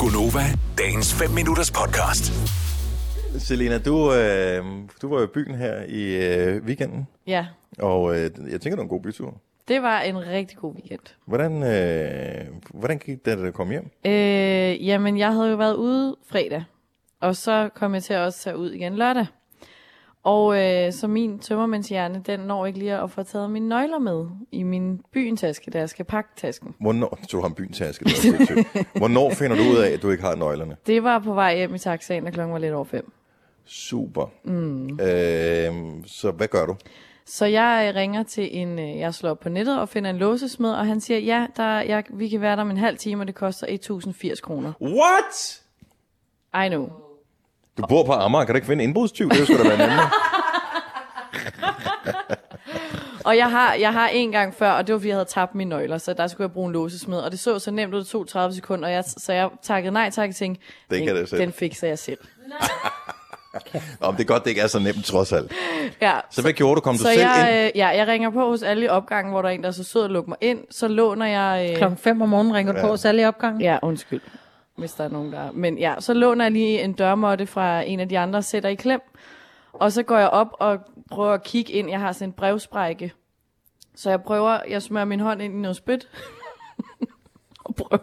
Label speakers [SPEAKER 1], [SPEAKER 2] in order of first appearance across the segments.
[SPEAKER 1] Gunova, dagens 5 minutters podcast.
[SPEAKER 2] Selena, du, øh, du var jo i byen her i øh, weekenden,
[SPEAKER 3] Ja,
[SPEAKER 2] og øh, jeg tænker, det var en god bytur.
[SPEAKER 3] det var en rigtig god weekend.
[SPEAKER 2] Hvordan, øh, hvordan gik det, da du kom hjem?
[SPEAKER 3] Øh, jamen, jeg havde jo været ude fredag, og så kom jeg til at også tage ud igen lørdag. Og øh, så min tømmermandshjerne, den når ikke lige at få taget mine nøgler med i min byentaske, da jeg skal pakke tasken.
[SPEAKER 2] Hvornår tog han byen taske? det var sindssygt. Hvornår finder du ud af, at du ikke har nøglerne?
[SPEAKER 3] Det var på vej hjem i taxaen, og klokken var lidt over fem.
[SPEAKER 2] Super. Mm. Øh, så hvad gør du?
[SPEAKER 3] Så jeg øh, ringer til en, øh, jeg slår op på nettet og finder en låsesmed, og han siger, ja, der, jeg, vi kan være der om en halv time, og det koster 1080 kroner.
[SPEAKER 2] What?
[SPEAKER 3] I know.
[SPEAKER 2] Du bor på Amager, kan du ikke finde en indbrudstyv? Det skulle da være nemmere.
[SPEAKER 3] Og jeg har, jeg har en gang før, og det var fordi, jeg havde tabt mine nøgler, så der skulle jeg bruge en låsesmed. Og det så så nemt ud, det tog 30 sekunder, og jeg, så jeg takkede nej tak og tænkte,
[SPEAKER 2] Det kan
[SPEAKER 3] den,
[SPEAKER 2] jeg selv."
[SPEAKER 3] den fikser jeg selv.
[SPEAKER 2] Nå, men det er godt, det ikke er så nemt trods alt.
[SPEAKER 3] Ja.
[SPEAKER 2] Så hvad gjorde du? Kom du
[SPEAKER 3] Så
[SPEAKER 2] selv ind?
[SPEAKER 3] jeg, øh, ja, jeg ringer på hos alle i opgangen, hvor der er en, der er så sød at lukke mig ind. Så låner jeg... Øh,
[SPEAKER 4] Klokken 5 om morgenen ringer du på, særlig i opgangen.
[SPEAKER 3] ja, undskyld, hvis der er nogen, der... Men ja, så låner jeg lige en dørmåtte fra en af de andre og sætter i klem. Og så går jeg op og prøver at kigge ind. Jeg har sådan en brevsprække. Så jeg prøver, jeg smører min hånd ind i noget spyt. og prøver,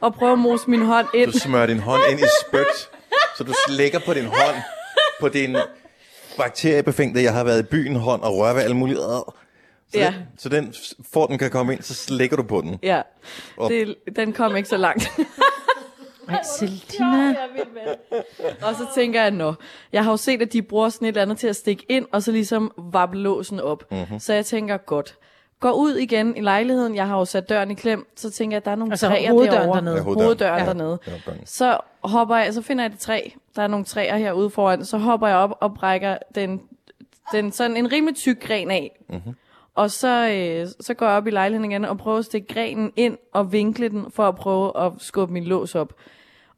[SPEAKER 3] og prøver at mose min hånd ind.
[SPEAKER 2] Du smører din hånd ind i spyt, så du slikker på din hånd, på din bakteriebefængte, jeg har været i byen hånd og rører ved alle mulige. Så,
[SPEAKER 3] Ja.
[SPEAKER 2] den, så den, s- for den kan komme ind, så slikker du på den.
[SPEAKER 3] Ja,
[SPEAKER 2] Og-
[SPEAKER 3] det, den kom ikke så langt.
[SPEAKER 4] Ej, Selina.
[SPEAKER 3] og så tænker jeg, nå, jeg har jo set, at de bruger sådan et eller andet til at stikke ind, og så ligesom vappe låsen op.
[SPEAKER 2] Mhm.
[SPEAKER 3] Mm-hmm. Så jeg tænker, godt. Går ud igen i lejligheden, jeg har jo sat døren i klem, så tænker jeg, at der er nogle
[SPEAKER 4] Altså,
[SPEAKER 3] træer
[SPEAKER 4] hoveddøren
[SPEAKER 3] derovre.
[SPEAKER 4] dernede. Ja,
[SPEAKER 2] hoveddøren.
[SPEAKER 3] hoveddøren
[SPEAKER 2] Ja.
[SPEAKER 3] dernede.
[SPEAKER 2] Det er opgangen.
[SPEAKER 3] Så hopper jeg, så finder jeg et træ. Der er nogle træer herude foran. Så hopper jeg op og brækker den, den sådan en rimelig tyk gren af. Mm-hmm. Og så, øh, så går jeg op i lejligheden igen og prøver at stikke grenen ind og vinkle den for at prøve at skubbe min lås op.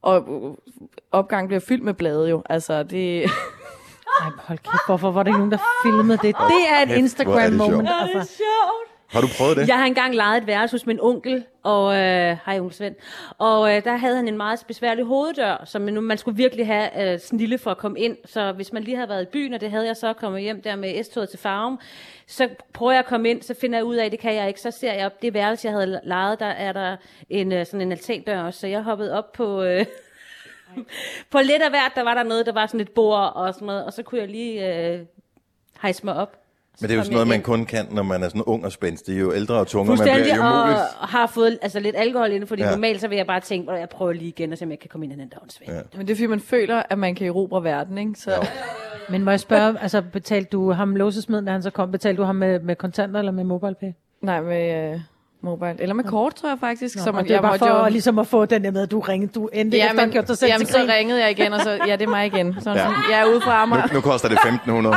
[SPEAKER 3] Og øh, opgangen bliver fyldt med blade jo. Altså, det,
[SPEAKER 4] Ej, hold kæft, hvorfor var der ikke nogen, der filmede det? Det er et
[SPEAKER 2] kæft, hvor er det
[SPEAKER 4] Instagram-moment.
[SPEAKER 2] sjovt.
[SPEAKER 4] Altså.
[SPEAKER 2] Har du prøvet det?
[SPEAKER 5] Jeg har engang lejet et værelse hos min onkel, og øh, hej onkel Svend, og øh, der havde han en meget besværlig hoveddør, som man, man skulle virkelig have øh, snille for at komme ind, så hvis man lige havde været i byen, og det havde jeg så kommet hjem der med S-toget til Farum, så prøver jeg at komme ind, så finder jeg ud af, at det kan jeg ikke, så ser jeg op det værelse, jeg havde lejet, der er der en, øh, sådan en altandør også, så jeg hoppede op på... Øh, på lidt af hvert, der var der noget, der var sådan et bord og sådan noget, og så kunne jeg lige øh, hejse mig op. Så
[SPEAKER 2] Men det er jo
[SPEAKER 5] kom
[SPEAKER 2] sådan
[SPEAKER 5] jeg
[SPEAKER 2] noget, man
[SPEAKER 5] ind.
[SPEAKER 2] kun kan, når man er sådan ung og spændt. Det er jo ældre og tungere, man bliver
[SPEAKER 5] Fuldstændig,
[SPEAKER 2] jo muligt.
[SPEAKER 5] og, og har fået altså, lidt alkohol inden, fordi
[SPEAKER 2] Ja.
[SPEAKER 5] ja. normalt så vil jeg bare tænke, at jeg prøver lige igen, og se om jeg kan komme ind i den der åndssvagt. Ja.
[SPEAKER 3] men det er fordi, man føler, at man kan erobre verden, ikke? Så,
[SPEAKER 4] Men må jeg spørge, altså betalte du ham låsesmeden, da han så kom, betalte du ham med, med kontanter eller med MobilePay?
[SPEAKER 3] nej, med øh, mobile. Eller med kort, tror jeg faktisk.
[SPEAKER 4] Så man, det er bare
[SPEAKER 3] måtte
[SPEAKER 4] for
[SPEAKER 3] jo-
[SPEAKER 4] at, ligesom at få den der med, at du ringede, du endte ja, efter men, gjort dig selv
[SPEAKER 3] jamen,
[SPEAKER 4] til grin.
[SPEAKER 3] så ringede jeg igen, og så, ja, det er mig igen. Sådan,
[SPEAKER 2] Ja.
[SPEAKER 3] ja. sådan, jeg er ude på Amager.
[SPEAKER 2] Nu, nu koster det 1500.